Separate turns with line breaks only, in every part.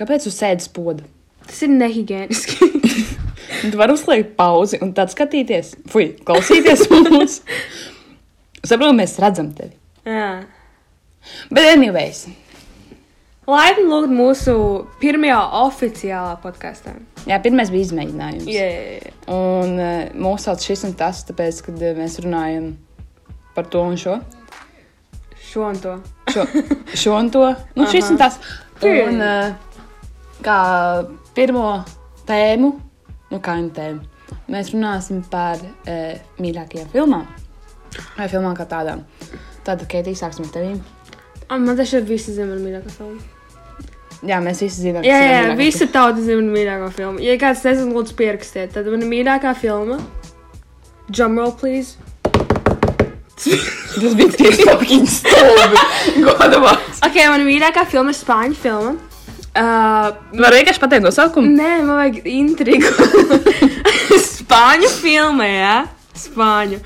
Kāpēc tu sēdi spoda? Nu,
Tas ir nehigiēniski.
Tu vari uzlikt pauzi un tad skatīties, fuj, klausīties mums. Saprotam, mēs redzam tevi.
Jā.
Bet, anyways,
Laipni lūgt mūsu pirmajā oficiālā podkāstā.
jā, pirmais bija izmēģinājums.
Jā, jā, jā.
Un eh, mūs sauc šis un tas, tāpēc, kad eh, mēs runājam par to un šo.
Šo un to.
Šo, šo un to. Nu, šis un tas. Un eh, kā pirmo tēmu, nu kā viņa tēma, mēs runāsim par e, mīļākajām filmām. Vai filmām kā tādām. Tātad, Keitija, sāksim ar tevi.
Un man taču ir visi zina, man mīļākā filma.
Jā, mēs visi zinām, kas ir
Jā, jā,
mīļākā
visa tauta zina manu mīļāko filmu. Ja kāds nezina, lūdzu, pierakstiet, tad mana mīļākā filma. Drumroll, please.
Tas bija tieši fucking stulbi. Godamās.
Ok, mana mīļākā filma ir spāņu filma. Uh,
Var vienkārši pateikt nosaukumu?
nē, man vajag intrigu. spāņu filma, jā, spāņu.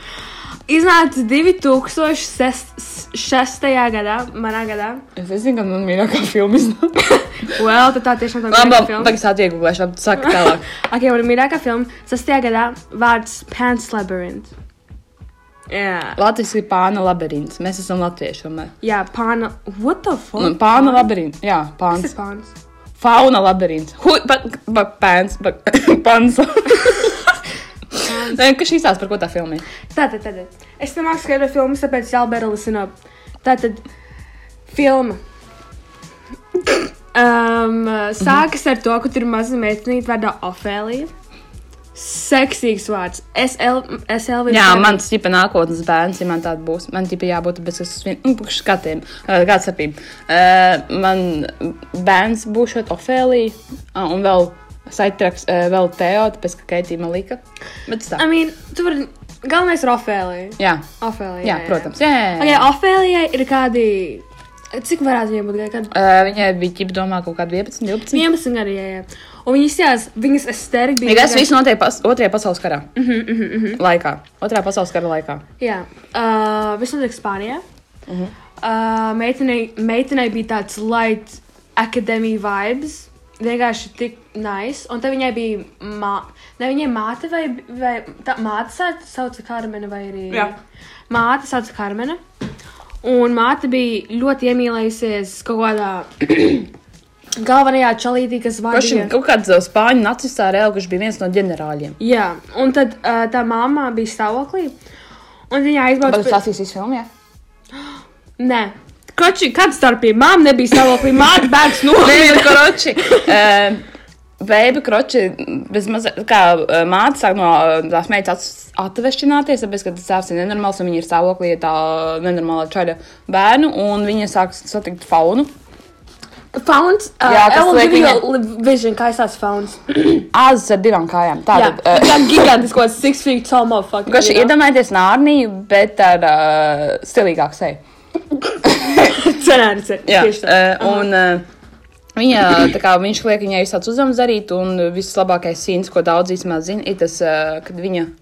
Iznāca 2006. gadā, manā gadā.
Es nezinu, kad man mīļākā filma iznāk.
Well, tad tā tiešām tā bija.
Labi, tagad es atvieglēšu, tad saka tālāk.
Ok, mana mīļākā filma. 6. gadā vārds Pants Labyrinth. Jā,
Latvijas ir pāna labirints. Mēs esam latvieši. tomēr.
jā pāna. What the fuck?
Nu, Pāna labirints. Jā,
Tas
pāns.
ir pāns.
Fauna labirints. Hu- pa- pa- Pāns. pa- Pāns. Nē, kas šīs tās par ko tā filma ir?
Tātad, tātad. es nemāku skaidrot filmas, tāpēc jābēra listen up. Tātad, filma. Um, sākas ar to, ka tur ir maza meitenīte vārdā Ofēlija. Seksīgs vārds. Es jau
Jā, man stipa nākotnes bērns, ja man tāda būs. Man tipa jābūt bez nu, skatiem, kāda sapība. Man bērns būs šeit Ofēlija ā, un vēl Saitraks, ā, vēl Teo, tāpēc, ka Keitija man lika. Bet tas
I
tā.
mean, tu vari. Galvenais ir Ofēlija.
Jā,
Ofēlija.
jā, protams. Jā, jā, jā.
Okay, Ofēlijai ir kādi. Cik varētu viņai būt gadi? Kad...
Ā, Viņai bija ģip domā kaut kādu 11, 12.
11 gadi, jā, jā. Un viņas, jā, viņas estēri bija.
Ja tas viss notiek pas, otrajā pasaules karā. Mm -hmm, mm -hmm. Laikā. Otrajā pasaules kara laikā.
Jā, uh, viss notiek Spānijā. Uh, meitenei, meitenei bija tāds light akadēmija vibes. Vienkārši tik nice. Un te viņai bija mā... ne, viņai māte vai, vai tā māte sau- sauca Karmena vai arī.
Jā.
Māte sauca Karmena. Un māte bija ļoti iemīlējusies kaut kādā galvenajā čalītī, kas
Kurš
vadīja.
ir kaut kāds eh, spāņu nacistā reāli, kurš bija viens no ģenerāļiem?
Jā, un tad uh, tā mamma bija stāvoklī. Un viņa aizbrauca.
Bet tas tas viss filmā.
Nē, Koči, kāda starpība? Māma nebija stāvoklī, māte bērns
Bēba
nomira.
kroči. Eh, Bēba kroči, bezmaz, kā eh, māte sāk no eh, tās meitas at- atvešķināties, tāpēc, ka tas tēvs ir nenormāls un viņa ir stāvoklī ja tā nenormāla čaļa bērnu, un viņa sāk satikt faunu.
Fauns, uh,
Jā, kas liek
Elonija Vision, kā es tās fauns.
Āzes ar divām kājām.
Jā,
Tātad, eh,
tā gigantiski, kāds six feet tall motherfucker.
Vienkārši iedomājieties nārniju, bet ar uh, stilīgāku seju.
Scenāris ir
Jā,
tieši tā.
uh, un uh, viņa, tā kā viņš liek viņai visāds uzdevums darīt, un vislabākais sīns, ko daudz īstenībā zina, ir tas, uh, kad viņa uh,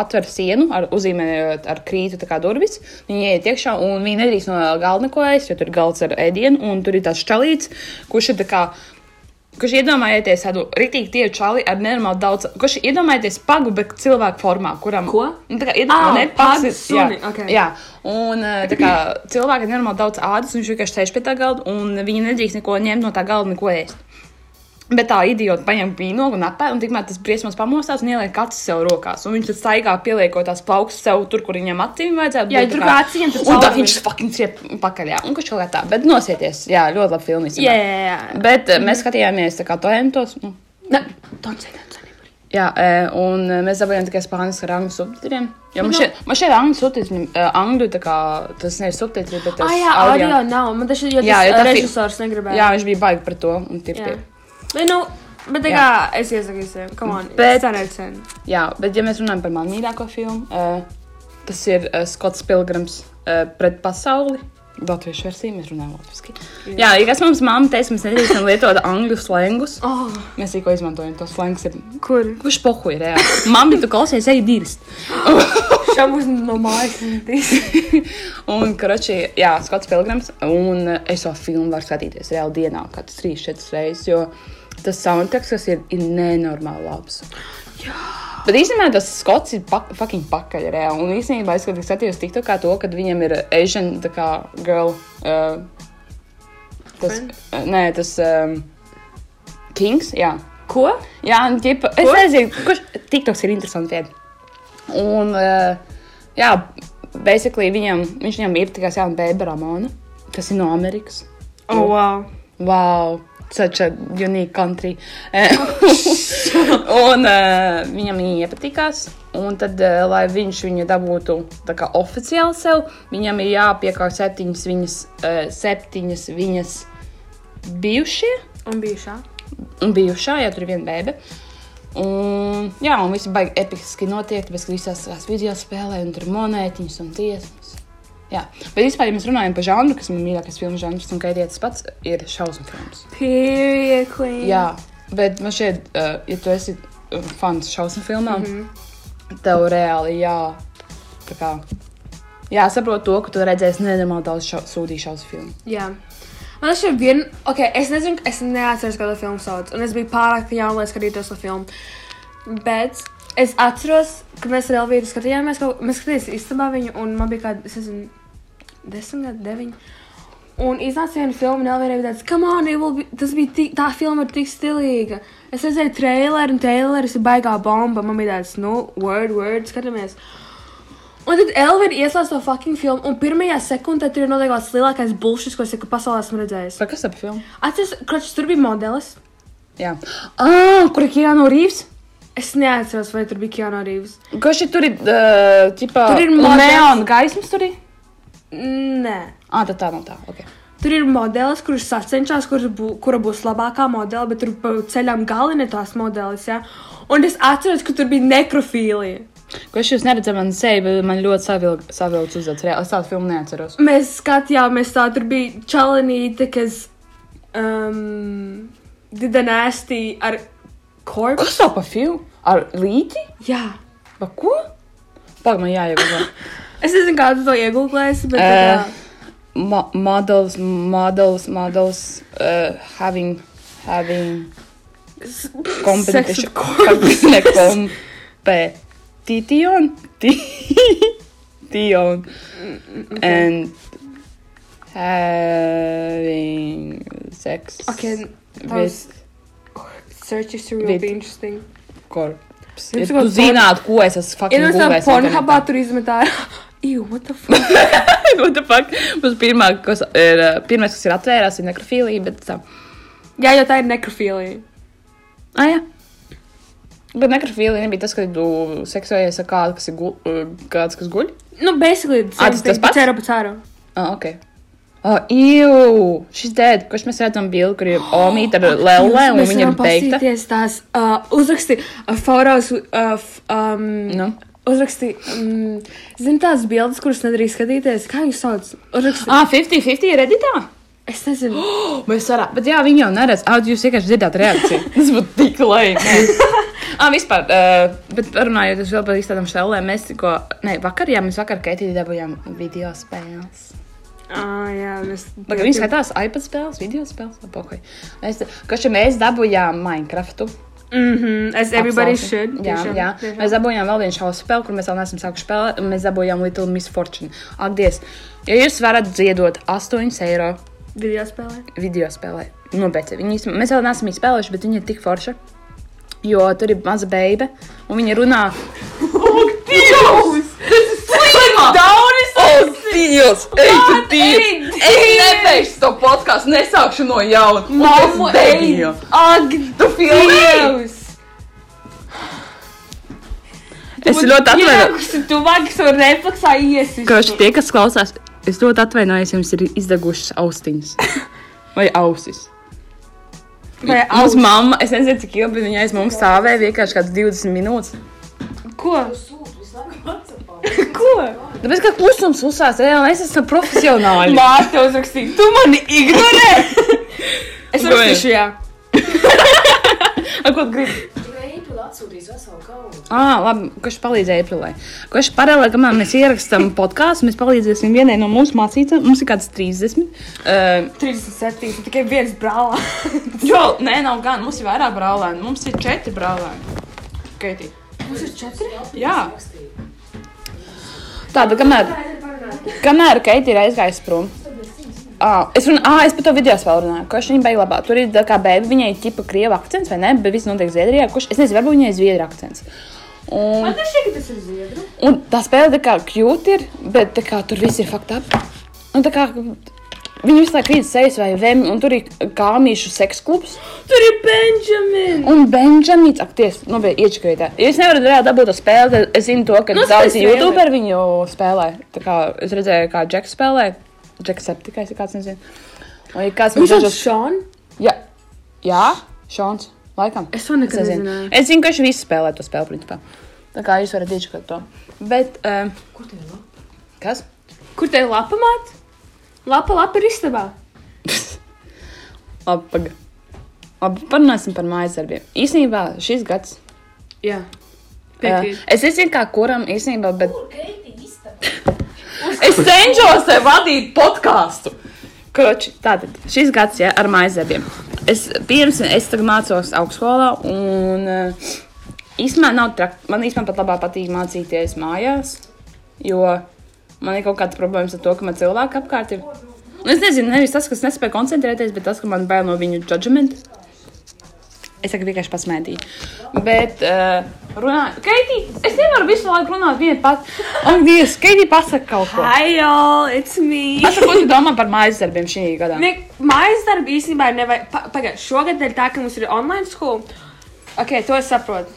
atver sienu, ar, uzīmējot ar krītu tā kā durvis, viņa ieiet iekšā, un viņa nedrīkst no galda neko ēst, jo tur ir galds ar ēdienu, un tur ir tāds čalīts, kurš ir tā kā. Kurš iedomājieties tādu rītīgu tievu čali ar nenormāli daudz, kurš iedomājieties pagu, bet cilvēku formā, kuram.
Ko?
Nu, tā kā iedomājieties.
Ā,
Nē, pats
paga,
ir-
suni,
jā,
ok.
jā. un eh, tā kā cilvēkam ir normāli daudz ādas, un viņš vienkārši sēž pie tā galda, un viņi nedrīkst neko ņemt no tā galda, neko ēst. Bet tā idiota paņem vīnogu un apēda, un tikmēr tas briesmās pamostās un ieliek acis sev rokās. Un viņš tad staigā pieliekot tās plaukstas sev tur, kur viņam acīm vajadzētu.
Jā,
būt,
tur
tā
kā acīm, tad
Un tad
cauri.
viņš fucking ciep pakaļ, jā. Un kurš vēl tā, bet nosieties, jā, ļoti labi filmas.
Jā, jā, jā.
Bet eh, mēs skatījāmies tā kā to entos. Nu,
Nē, don't say that, Sonny.
Jā, e, un e, mēs dabūjām tikai spāņu ar angļu subtitriem. Jo
Nu,
man šeit, man šeit angļu subtitri, e, angļu tā kā tas nevis subtitri, bet tas
Ah, jā, audio nav. Man taču jau
Jā, jo
tas
tā
ā,
fi-
režisors negribēja.
Jā, viņš bija baigi par to. Un, tip,
Jā.
jā.
Bet, nu, bet tā kā es iesaku visiem, come on,
Bet-
scenāris ir.
jā, bet ja mēs runājam par manu mīļāko filmu, e, tas ir e, Skots Pilgrims e, pret pasauli. Latviešu versiju mēs runājam latviešu. Jā, ja kas mums mamma teica, mēs nedrīkstam lietot angļu slēngus.
Oh,
Mēs tikko izmantojam tos slēngus. Ir...
kur?
Kurš pohuļ reāli? Mamma, tu klausies, ej, dirst.
Šam uz no mājas metīs.
Un, karoči, jā, skats pilgrims. Un eh, es to filmu varu skatīties reāli dienā, kā tas trīs, četras reizes, jo tas soundtracks, kas ir, ir nenormāli labs. Bet īstenībā tas skots ir pak, fucking pakaļ reāli. Un īstenībā es, kad es skatījos tikto kā to, kad viņam ir Asian, tā kā girl. Uh, tas,
Friend?
uh, nē, tas um, Kings, jā.
Ko?
Jā, un ģipa, es
Ko?
nezinu, kurš TikToks ir interesants vieta. Un, uh, jā, basically viņam, viņš viņam ir tikai jauna bēba Ramona, kas ir no Amerikas.
Oh, wow.
Wow, such a unique country. Eh, un uh, viņam viņa iepatikās. Un tad, uh, lai viņš viņu dabūtu tā kā oficiāli sev, viņam ir jāpiekāp septiņas viņas, uh, septiņas viņas bijušie
Un bija šā.
un bijušā, ja tur ir viena bēbe. Un, jā, un viss baigi episki notiek, tāpēc, ka visās tās video spēlē un tur ir monētiņas un tiesas. Jā, bet vispār, ja mēs runājam par žanru, kas man ir mīļākais filmu žanrs un kaitietis pats, ir šausmu filmas.
Period queen.
Jā, bet man šeit, uh, ja tu esi uh, fans šausmu filmām, mm -hmm. tev reāli jā, tā kā, jāsaprot to, ka tu redzēsi nenormāli daudz šau, sūdīju šausmu filmu.
Jā. Man liekas, ir viena. Ok, es nezinu, es neatceros, kāda filma sauc. Un es biju pārāk jauna, lai skatītos to filmu. Bet es atceros, ka mēs ar Elvīru skatījāmies, ka mēs skatījāmies istabā viņu, un man bija kāda, es nezinu, desmit gadi, deviņi. Un iznāca viena filma, un Elvīra bija tāds, kam on, it will be- tas bija tik, tā filma ir tik stilīga. Es redzēju traileru, un traileris ir baigā bomba. Man bija tāds, nu, word, word, skatāmies. Un tad Elvīra ieslēdz to fucking filmu, un pirmajā sekundē tur ir notiek kaut kāds lielākais bullshit, ko es jebkad pasaulē esmu redzējis.
Tā kas tā par filmu?
Atceros, ka tur bija modelis.
Jā. Ah, kur ir Keanu Reeves?
Es neatceros, vai tur bija Keanu Reeves.
Kas šeit tur ir? Uh, ķipā,
Tur ir
un
modelis.
neona gaismas tur ir.
Nē.
Ah, tad tā nav tā. Okay.
Tur ir modelis, kurš sacenšas, kur, bū- kura būs labākā modele, bet tur pa ceļām galīgi tās modelis. Ja? Un es atceros, ka tur bija nekrofīlija.
Kas jūs neredzat man seju, bet man ļoti savilg- savilgs uzvedas. Reāli, Es tādu filmu neatceros.
Mēs skatījāmies, tā tur bija čalanīte, kas um, didanēstī ar korpusu.
Kas tā par filmu? Ar līti?
Jā.
Pa ko? Pag, man jāiegūst.
Es nezinu, kā tu to iegūlēsi, bet.
uh,
Uh.
mo- models, models, models, uh, having, having competition.
with corpses.
Competition. Competition. Tion. And having sex
Okay, that was-
with
Search history will
Vid-
be interesting.
corpse. Ja
Jums
tu
kaut ko-
zinātu, ko es esmu
Ir
fucking
jau tā,
googlējis
pornhubā
internetā.
tur izmetā. Ew, what the fuck?
What the fuck? Mums pirmā, kas ir, uh, pirmais, kas ir atvērās, ir nekrofīlija, bet tā.
Jā, jo tā ir nekrofīlija.
Ah, jā. Bet nekrofīlija nebija tas, kad tu seksojies ar kādu, kas, ir gu, uh, kāds, kas guļ.
Nu, basically,
Ah, tas tas pats?
Cēra pa cēru.
Ah, ok. Ah, Iu, šis dēļ, kurš mēs redzam bildi, kur ir omīte ar lēlē un viņa ir beigta.
Pasīties tās uh, uzraksti uh, foros, uh, f- um,
Nu?
uzraksti, um, zin tās bildes, kuras nedrīkst skatīties. Kā viņas sauc? Uzraksti,
Ah, 50-50 ir redītā?
es nezinu.
Mēs varam. Bet jā, viņi jau neredz. Ah, jūs vienkārši dzirdāt reakciju. Tas būtu tik laimīgi. Ah, vispār, uh, bet runājot es vēl par īstām šēlēm, mēs tikko, ne, vakar, jā, mēs vakar Keitī dabūjām video spēles.
Ah, jā, mēs.
Lai gan viņi skatās iPad spēles, video spēles, labi, ok. Mēs, kaži, mēs dabūjām Minecraftu.
Mhm, as everybody
Absolūti.
should.
Jā,
tiešām,
jā.
tiešām.
Mēs dabūjām vēl vienu šādu spēli, kur mēs vēl neesam sākuši spēlēt. un Mēs dabūjām Little Miss Fortune. Ak, Dievs! Ja jūs varat ziedot 8 eiro
Video spēlē.
video spēlē, nu, bet viņi, īstenībā- mēs vēl neesam viņu spēlējuši, bet viņi ir tik forši. Jo tur ir maza beiga, un viņa runā. Oh, Daunis! Oh, Dievs! Ej, tu
ej,
Dievs! Es nebeigšu to podkāstu, nesākšu no jauna. Un
Mamma,
es
ej!
beigšu.
Ak,
Tu filmēji!
Dievs!
Es ļoti atvainojos.
atvainojos. Tu vajag savu refleksā iesi.
Kroči, tie, kas klausās, es ļoti atvainojos, ja jums ir izdegušas austiņas vai ausis.
Vai
Mūsu mamma, es nezinu, cik ilgi viņa aiz mums stāvēja, vienkārši kāds 20 minūtes.
Ko?
sūtu visu laiku.
Ko?
Tāpēc, ka klusums uzsācis, jau mēs esam profesionāli.
Mārta uzrakstīja, tu mani ignorē! es
Ko?
uzrakstīju, jā.
Ko tu gribi?
Aprīlī atsūtīs veselu kaunu.
Ah, labi, kurš palīdzēja aprīlī. Kurš paralēli, kamēr mēs ierakstām podkāstu, mēs palīdzēsim vienai no mums mācītājai. Mums ir kāds 30. Uh,
37, tu tikai viens brālā.
jo, nē, nav gan. Mums ir vairāk brālēni. Mums ir četri brālēni. Keitī.
Mums ir četri?
Jā. Tāda, kamēr, kamēr Keita ir aizgājusi prom. Ah, es runāju, ah, es par to video vēl runāju. Kurš viņa beigas labāk? Tur ir tā kā bērns, viņai ir tipa krieva akcents vai ne? Bet viss notiek Zviedrijā. Kurš es nezinu, varbūt viņai ir zviedru akcents. Un,
Man šķiet, ka tas ir ziedru.
un tā spēle tā kā cute ir, bet tā kā, tur viss ir fakta. Un tā kā viņi visu laiku krīt sejas vai vēm, un tur ir kāmīšu seks klubs.
Tur ir Benjamin!
Un Benjamins, ak, ties, nu, bija iečkrītā. Ja es nevaru reāli dabūt to spēli, tad es zinu to, ka
Nu,
nu, daudz
spēlē.
YouTuber viņu spēlē. Tā kā es redzēju, kā Džeks spēlē. Džeks ir tikai kāds, nezinu. Un ir kāds, man
Viņš ir
dažos...
Šon?
Jā, jā, Šons, laikam.
Es to nekad
nezinu.
nezināju.
Es zinu, ka viņš visu spēlē to spēli, principā. Tā kā jūs varat iečkrīt to. Bet, um,
Kur tev ir?
kas?
Kur te ir lapa māt? Lapa, lapa ir istabā.
Labi, pagaidi. Labi, parunāsim par mājas darbiem. Īsnībā šis gads.
Jā.
Uh,
Piekrīt.
es nezinu, kā kuram īstenībā, bet
Kur Keiti īstenībā?
Es cenšos te vadīt podkāstu. Kroči, tātad šis gads ja, ar maizdarbiem. Es pirms es tagad mācos augstskolā, un eh, īstenībā nav traki. Man īstenībā pat labāk patīk mācīties mājās, jo man ir kaut kāds problēmas ar to, ka man cilvēki apkārt ir. Nu, Es nezinu, nevis tas, kas nespēja koncentrēties, bet tas, ka man bail no viņu judgment. Es tagad vienkārši pasmēķinu. Bet, uh, runājot, Keitī, es nevaru visu laiku runāt viena pati. Ak, Dievs, Keitī, pasaka kaut ko.
Hi, all, it's me!
Pasaka, ko tu domā par mājas darbiem šī gadā?
Ne, mājas darbi īstenībā ir nevajag. Pa, pagaid, šogad ir tā, ka mums ir online skola. Ok, to es saprotu.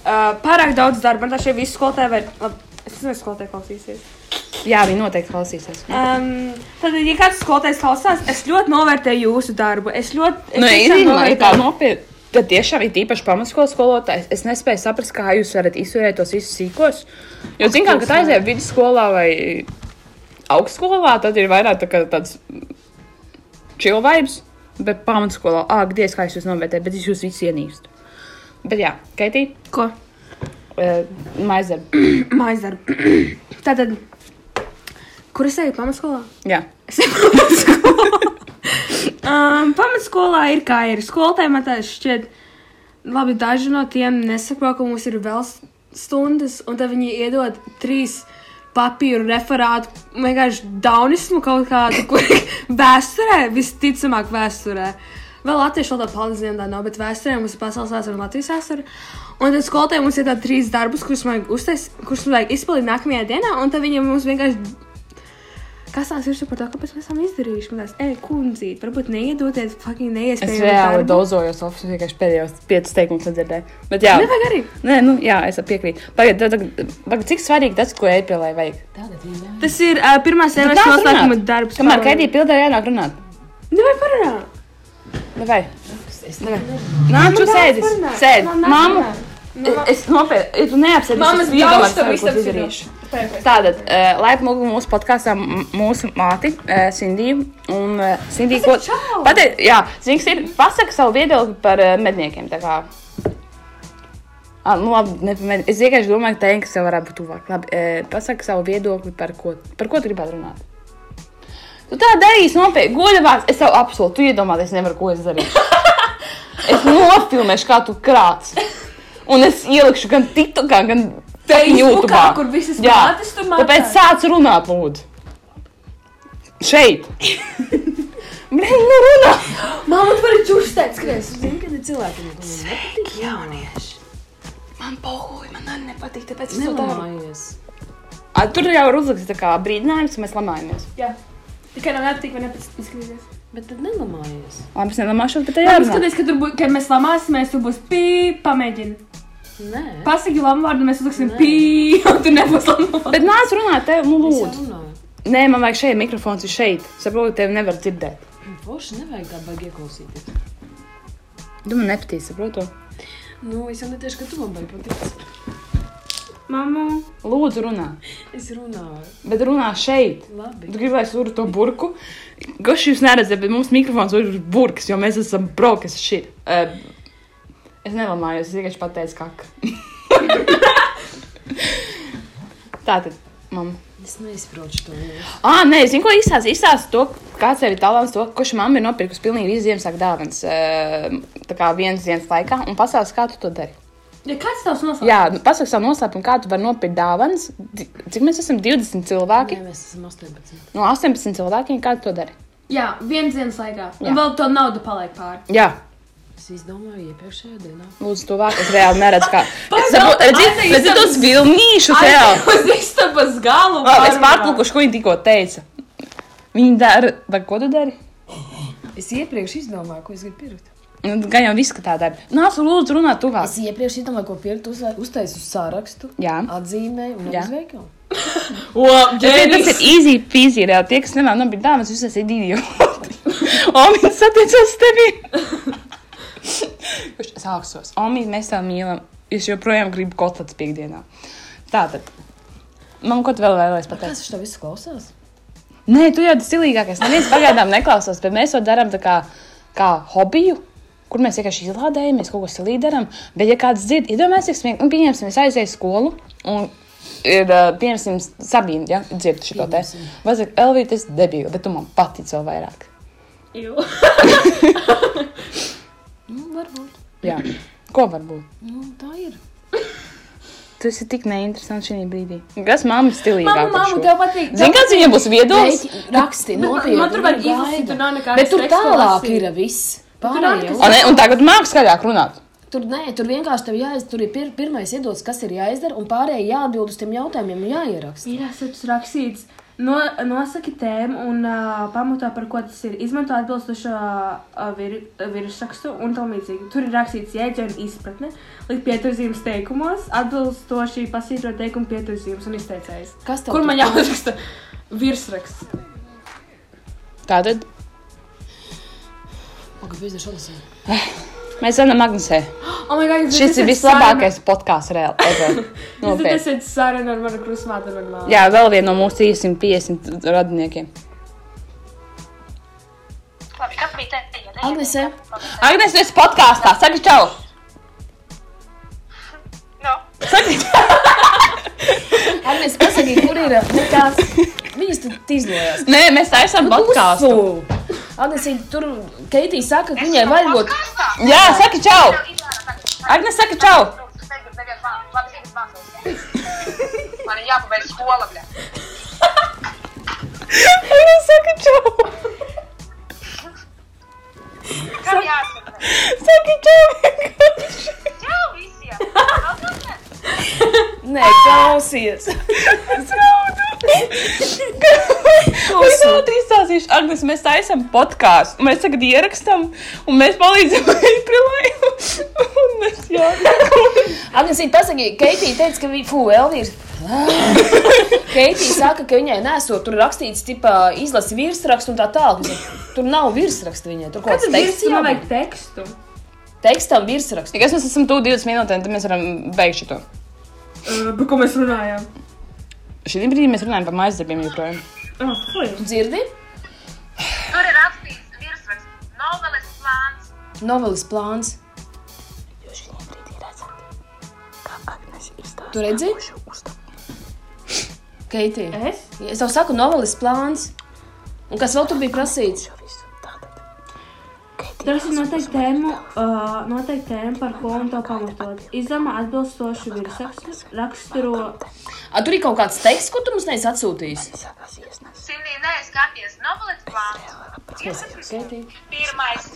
Uh, pārāk daudz darba, man tā šie visi skolotāji var. Labi, es nezinu, vai skolotāji klausīsies.
Jā, viņi noteikti klausīsies.
Um, tad, ja kāds skolotājs klausās, es ļoti novērtēju jūsu darbu. Es ļoti. es
Nu,
tiešām
īstenībā ir tā
novērtēju.
nopietna. Tad tiešām ir īpaši pamatskolas skolotājs. Es nespēju saprast, kā jūs varat izturēt tos visus sīkos. Jo, zinām, kad aizjūtu vidusskolā vai augstskolā, tad ir vairāk tā kā tāds čilvības, bet pamatskolā, ak, diez kā es jūs novērtēju, bet es jūs visus ienīstu. Bet jā, eh, Keitī,
Ko?
maizem.
Mājas darbi. Tātad, kur es eju pamatskolā?
Jā,
Es eju pamatskolā. um, pamatskolā ir kā ir. Skolotājiem man tā šķiet, labi, daži no tiem nesaprot, ka mums ir vēl s- stundas, un tad viņi iedod trīs papīru referātu, vienkārši daunismu kaut kādu, kur vēsturē, visticamāk, vēsturē. Vēl latviešu valodā, paldies Dievam, tā nav, bet vēsturē mums ir pasaules vēsture un Latvijas vēsture. Un tad skolotājiem mums ir tādi trīs darbus, kurus vajag uztaisīt, kurus vajag izpildīt nākamajā dienā, un tad viņiem mums vienkārši Kas tās ir par to, kāpēc mēs esam izdarījuši? Man liekas, ej, kundzīt, varbūt neiedodiet, fucking
es
neiespējami.
reāli dozojos, oficiāli vienkārši pēdējos piecus teikumus dzirdēju. Bet jā,
Nevajag arī.
Nē, nu, jā, es piekrītu. Pagaidiet, pagaidiet, cik svarīgi tas, ko ēpielai vajag.
Tagad viņa.
Tas ir uh, pirmās sērijas
Nāc
noslēguma
runāt.
darbs.
Kamēr Kaidija pildē, jānāk runāt.
Nevajag parunāt.
Vai?
Es nevaru.
Nāc, tu sēdi.
parunāt.
Sēdi.
Man nāk
Māmu.
parunāt.
Es nopietni, ja tu neapsēdies.
Nu, Mammas
es iedomājos,
gaušu tev
ko
visam
tu izdarīšu. Tātad, eh, laipni lūgum mūsu podkāstā m- mūsu māti, eh, Sindiju. Un eh, Sindija, ko.
Pasaki čau!
Pateic, jā, zinks ir. Pasaka savu viedokli par eh, medniekiem. tā kā. Ah, nu, labi, ne, par med- es vienkārši domāju, ka tēnks jau varētu būt tuvāk. Labi, eh, pasaka savu viedokli par ko, par ko tu gribētu runāt. Tu tā darīsi nopietni, godīgāk. Es tev apsolu, tu iedomājies, nevaru ko es darīšu. Es nofilmēšu, kā tu krāc. Un es ielikšu gan TikTokā, gan fucking
Facebookā,
YouTubeā.
kur visas
Jā.
mātes tu mācās.
Tāpēc sāc runāt, lūdzu. Šeit. Blin, nu runā.
Māma, tu vari čurstēt, skries.
Zinu, ka ir cilvēki, kuriem tas
Tik jaunieši. Man pohuj, man arī nepatīk, tāpēc es to daru.
nepatīk.
A, tur jau ir uzlikts tā kā brīdinājums, un mēs lamājamies.
Jā. Tikai man nepatīk, man nepatīk skatīties.
Bet tad nelamājies.
Labi, es nelamāšos, bet te
Jā,
jārunā.
skaties, ka tur būs, kad mēs lamāsimies, tur būs pī, pamēģini.
Nē,
Pasaki lamvārdu, mēs uzliksim pī, un tu nebūs lamvārdu.
Bet nāc runāt, tev, nu
es jau
lūdzu.
runāju.
Nē, man vajag šeit mikrofons, ir šeit. Saprotu, tevi nevar dzirdēt.
Forši nevajag tā baigi ieklausīties.
Tu man nepatīc, saprotu.
Nu, es jau netiešu, ka tu man baigi patiks.
Mamma.
Lūdzu, runā.
Es runāju.
Bet runā šeit.
Labi.
Tu gribēji sūrīt to burbuļu. Goši jūs neredzat, bet mums mikrofons ir burbuļs, jo mēs esam brokas šit. Uh, es nelamājos, es vienkārši pateicu, kā. Tā tad, mamma.
Es neizprotu to jūsu.
Ah, nē, zinu, ko izstāsta. Izstāsta to, kāds tev ir talants, to, ko šī mamma ir nopirkusi pilnīgi visu Ziemassvētku dāvanas. eh, Tā kā viens dienas laikā, un pasāsta, kā tu to dari.
Ja kāds tavs nosaukums?
Jā, pasak savu noslēpumu, kā tu vari nopirkt dāvanas. Di- Cik mēs esam 20 cilvēki?
Nē, mēs esam 18.
No 18 cilvēkiem, kā tu to dari?
Jā, viens dienas laikā.
Jā.
Un vēl to naudu paliek pāri.
Jā.
Es izdomāju iepriekšējā dienā.
Lūdzu, to vāk, es reāli neredzu, kā. Es
Pagal,
saprotu, redziet,
ateisms.
redziet tos vilnīšus reāli.
Uz istabas galu.
Vēl, Es
pārunā.
pārplūkuši, ko viņi tikko teica. Viņi dara, vai ko tu dari?
Es iepriekš izdomāju, ko es gribu pirkt.
Nu, gan jau viss, ka tā dara. Nāc, lūdzu, runā tuvāk.
Es iepriekš izdomāju, ko pirkt. uzla- Uztaisu sārakstu,
Jā.
atzīmēju un
Jā.
uz veikalu.
O,
Ziniet, Tas ir
ģēnijs.
easy peasy. Reāli tie, kas nevēlas nopirkt dāvanas, jūs esat idioti. Omiņa satiecās tevi. Kurš sāksies? Omiņa, mēs tev mīlam. Es joprojām gribu kotlets piekdienā. Tātad. Man kaut vēl vēlēs pateikt.
Kāpēc viņš to visu klausās?
Nē, tu jau tas cilīgākais. Neviens pagaidām neklausās, bet mēs to darām tā kā, kā hobiju. Kur mēs vienkārši izlādējamies, kaut ko silīgi darām. Bet, ja kāds dzird, iedomājieties, ja pieņemsim, es aizēju uz skolu un ir, ā, pieņemsim, Sabīna, ja dzird šo te. Vazag, Elvīte, es debīju, bet tu man patici vēl vairāk.
Jū.
Nu, varbūt.
Jā. Ko var būt?
Nu, tā ir.
Tu esi tik neinteresants šī brīdī. Kas mamma stilīgāk?
Mamma, mamma, tev patīk.
Zini, kāds viņam būs viedoklis?
Mēģi, raksti, nopietni.
Nu, Man tur var izlasīt, tur
gaida.
nav nekādas
Bet tur
teksta
tālāk
lasīt.
ir viss.
tur
Pārējie
raksti-
O, ne, un tagad māks skaļāk runāt.
Tur, nē, tur vienkārši tev jāiz, tur ir pir, pirmais iedots, kas ir jāizdara, un pārējie jāatbild uz tiem jautājumiem, un jāieraksta.
Jā, tas ir rakstīts. No, nosaki tēmu un uh, pamatā, par ko tas ir. Izmanto atbilstošo uh, vir, virsrakstu un tam līdzīgi. Tur ir rakstīts jēdzienu izpratne, likt pieturzīmes teikumos, atbilstoši pasītrot teikumu pieturzīmes un izteicējs.
Kas tev
Kur man
tur-
jāuzraksta virsraksts?
Tātad
Pagaidzi, es izdaršu alasē.
mēs esam Magnusē.
Oh my God, es
Šis Nu, ir
esmu
vislabākais podkāsts reāli.
saruna- Es
Nopietni.
esmu saruna ar manu krusmātu un manu māmu.
Jā, vēl viena no mūsu 350 radiniekiem.
Agnese,
Agnēs, tu esi podkāstā. Saki, čau!
Agnese, pasaki, kur ir nekās. Viņas tur tīzlojās.
Nē, mēs taisām podkāstu.
Agnese, tur Keitija saka, ka viņai vajag.
Jā, saki, čau! Agnēs, saki, čau!
Man ir jāpabeidz skola, bļa.
Agnēs, saki, čau!
Kam jāsaka?
Saki, čau!
Jā, visiem. Nav problēma.
Nē, klausies.
Es vēl izstāstīšu, Agnēs, mēs taisām podkāstu. Mēs tagad ierakstām, un mēs palīdzam Aitrilai. Un mēs jā.
Agnese, pasaki, Keitija teica, ka viņa, fū, Elvīrs. Keitija saka, ka viņai nesot tur rakstīts, tipā izlasi virsrakstu un tā tālāk. Es saku, Tur nav virsraksta viņai, tur kaut
Kāds
kas
ir
teksts.
virsraksts? Man
jābūt.
vajag tekstu.
Tekstam virsrakstu.
Tikai mēs esam tuvu 20 minūtēm, tad mēs varam beigt šo.
Uh, par ko mēs runājām?
Šī brīdī mēs runājam par mājas darbiem joprojām.
Oh, fuj.
Tu dzirdi?
Tur ir rakstīts virsraksts, noveles plāns.
Novelis plāns. Tu redzi? Keitija.
Es?
Es tev saku, novelis plāns. Un kas vēl tur bija prasīts?
Tas ir noteikti tēma, uh, noteikti tēma, par ko un to pamatot. Izdomā atbilstošu virsrakstu, raksturo.
A, tur ir kaut kāds teksts, ko tu mums neesi atsūtījis.
Silvija, nē, skaties, noveles plāns. Iesakās. Pirmais.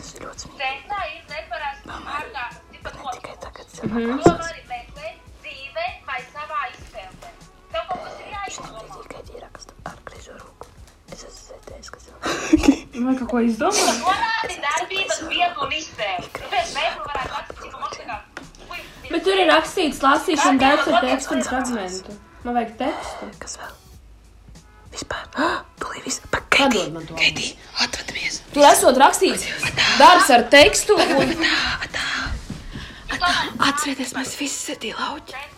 Tekstā ir neparasta vārdā. Tipa kopums. To var meklēt dzīvē vai savā izpildē. Tev kaut kas ir jāizdomā.
Man kaut ko izdomā?
Norādi darbības vietu un izpēli. Tāpēc mēs varētu atrast, cik mums tā kā. Puisis,
Bet tur ir rakstīts lasīšana darbs ar tekstu un fragmentu. Man vajag tekstu.
Padod man to.
Atvadamies!
Tur esot rakstīts darbs ar tekstu. Un...
Atcerieties, mēs visi esam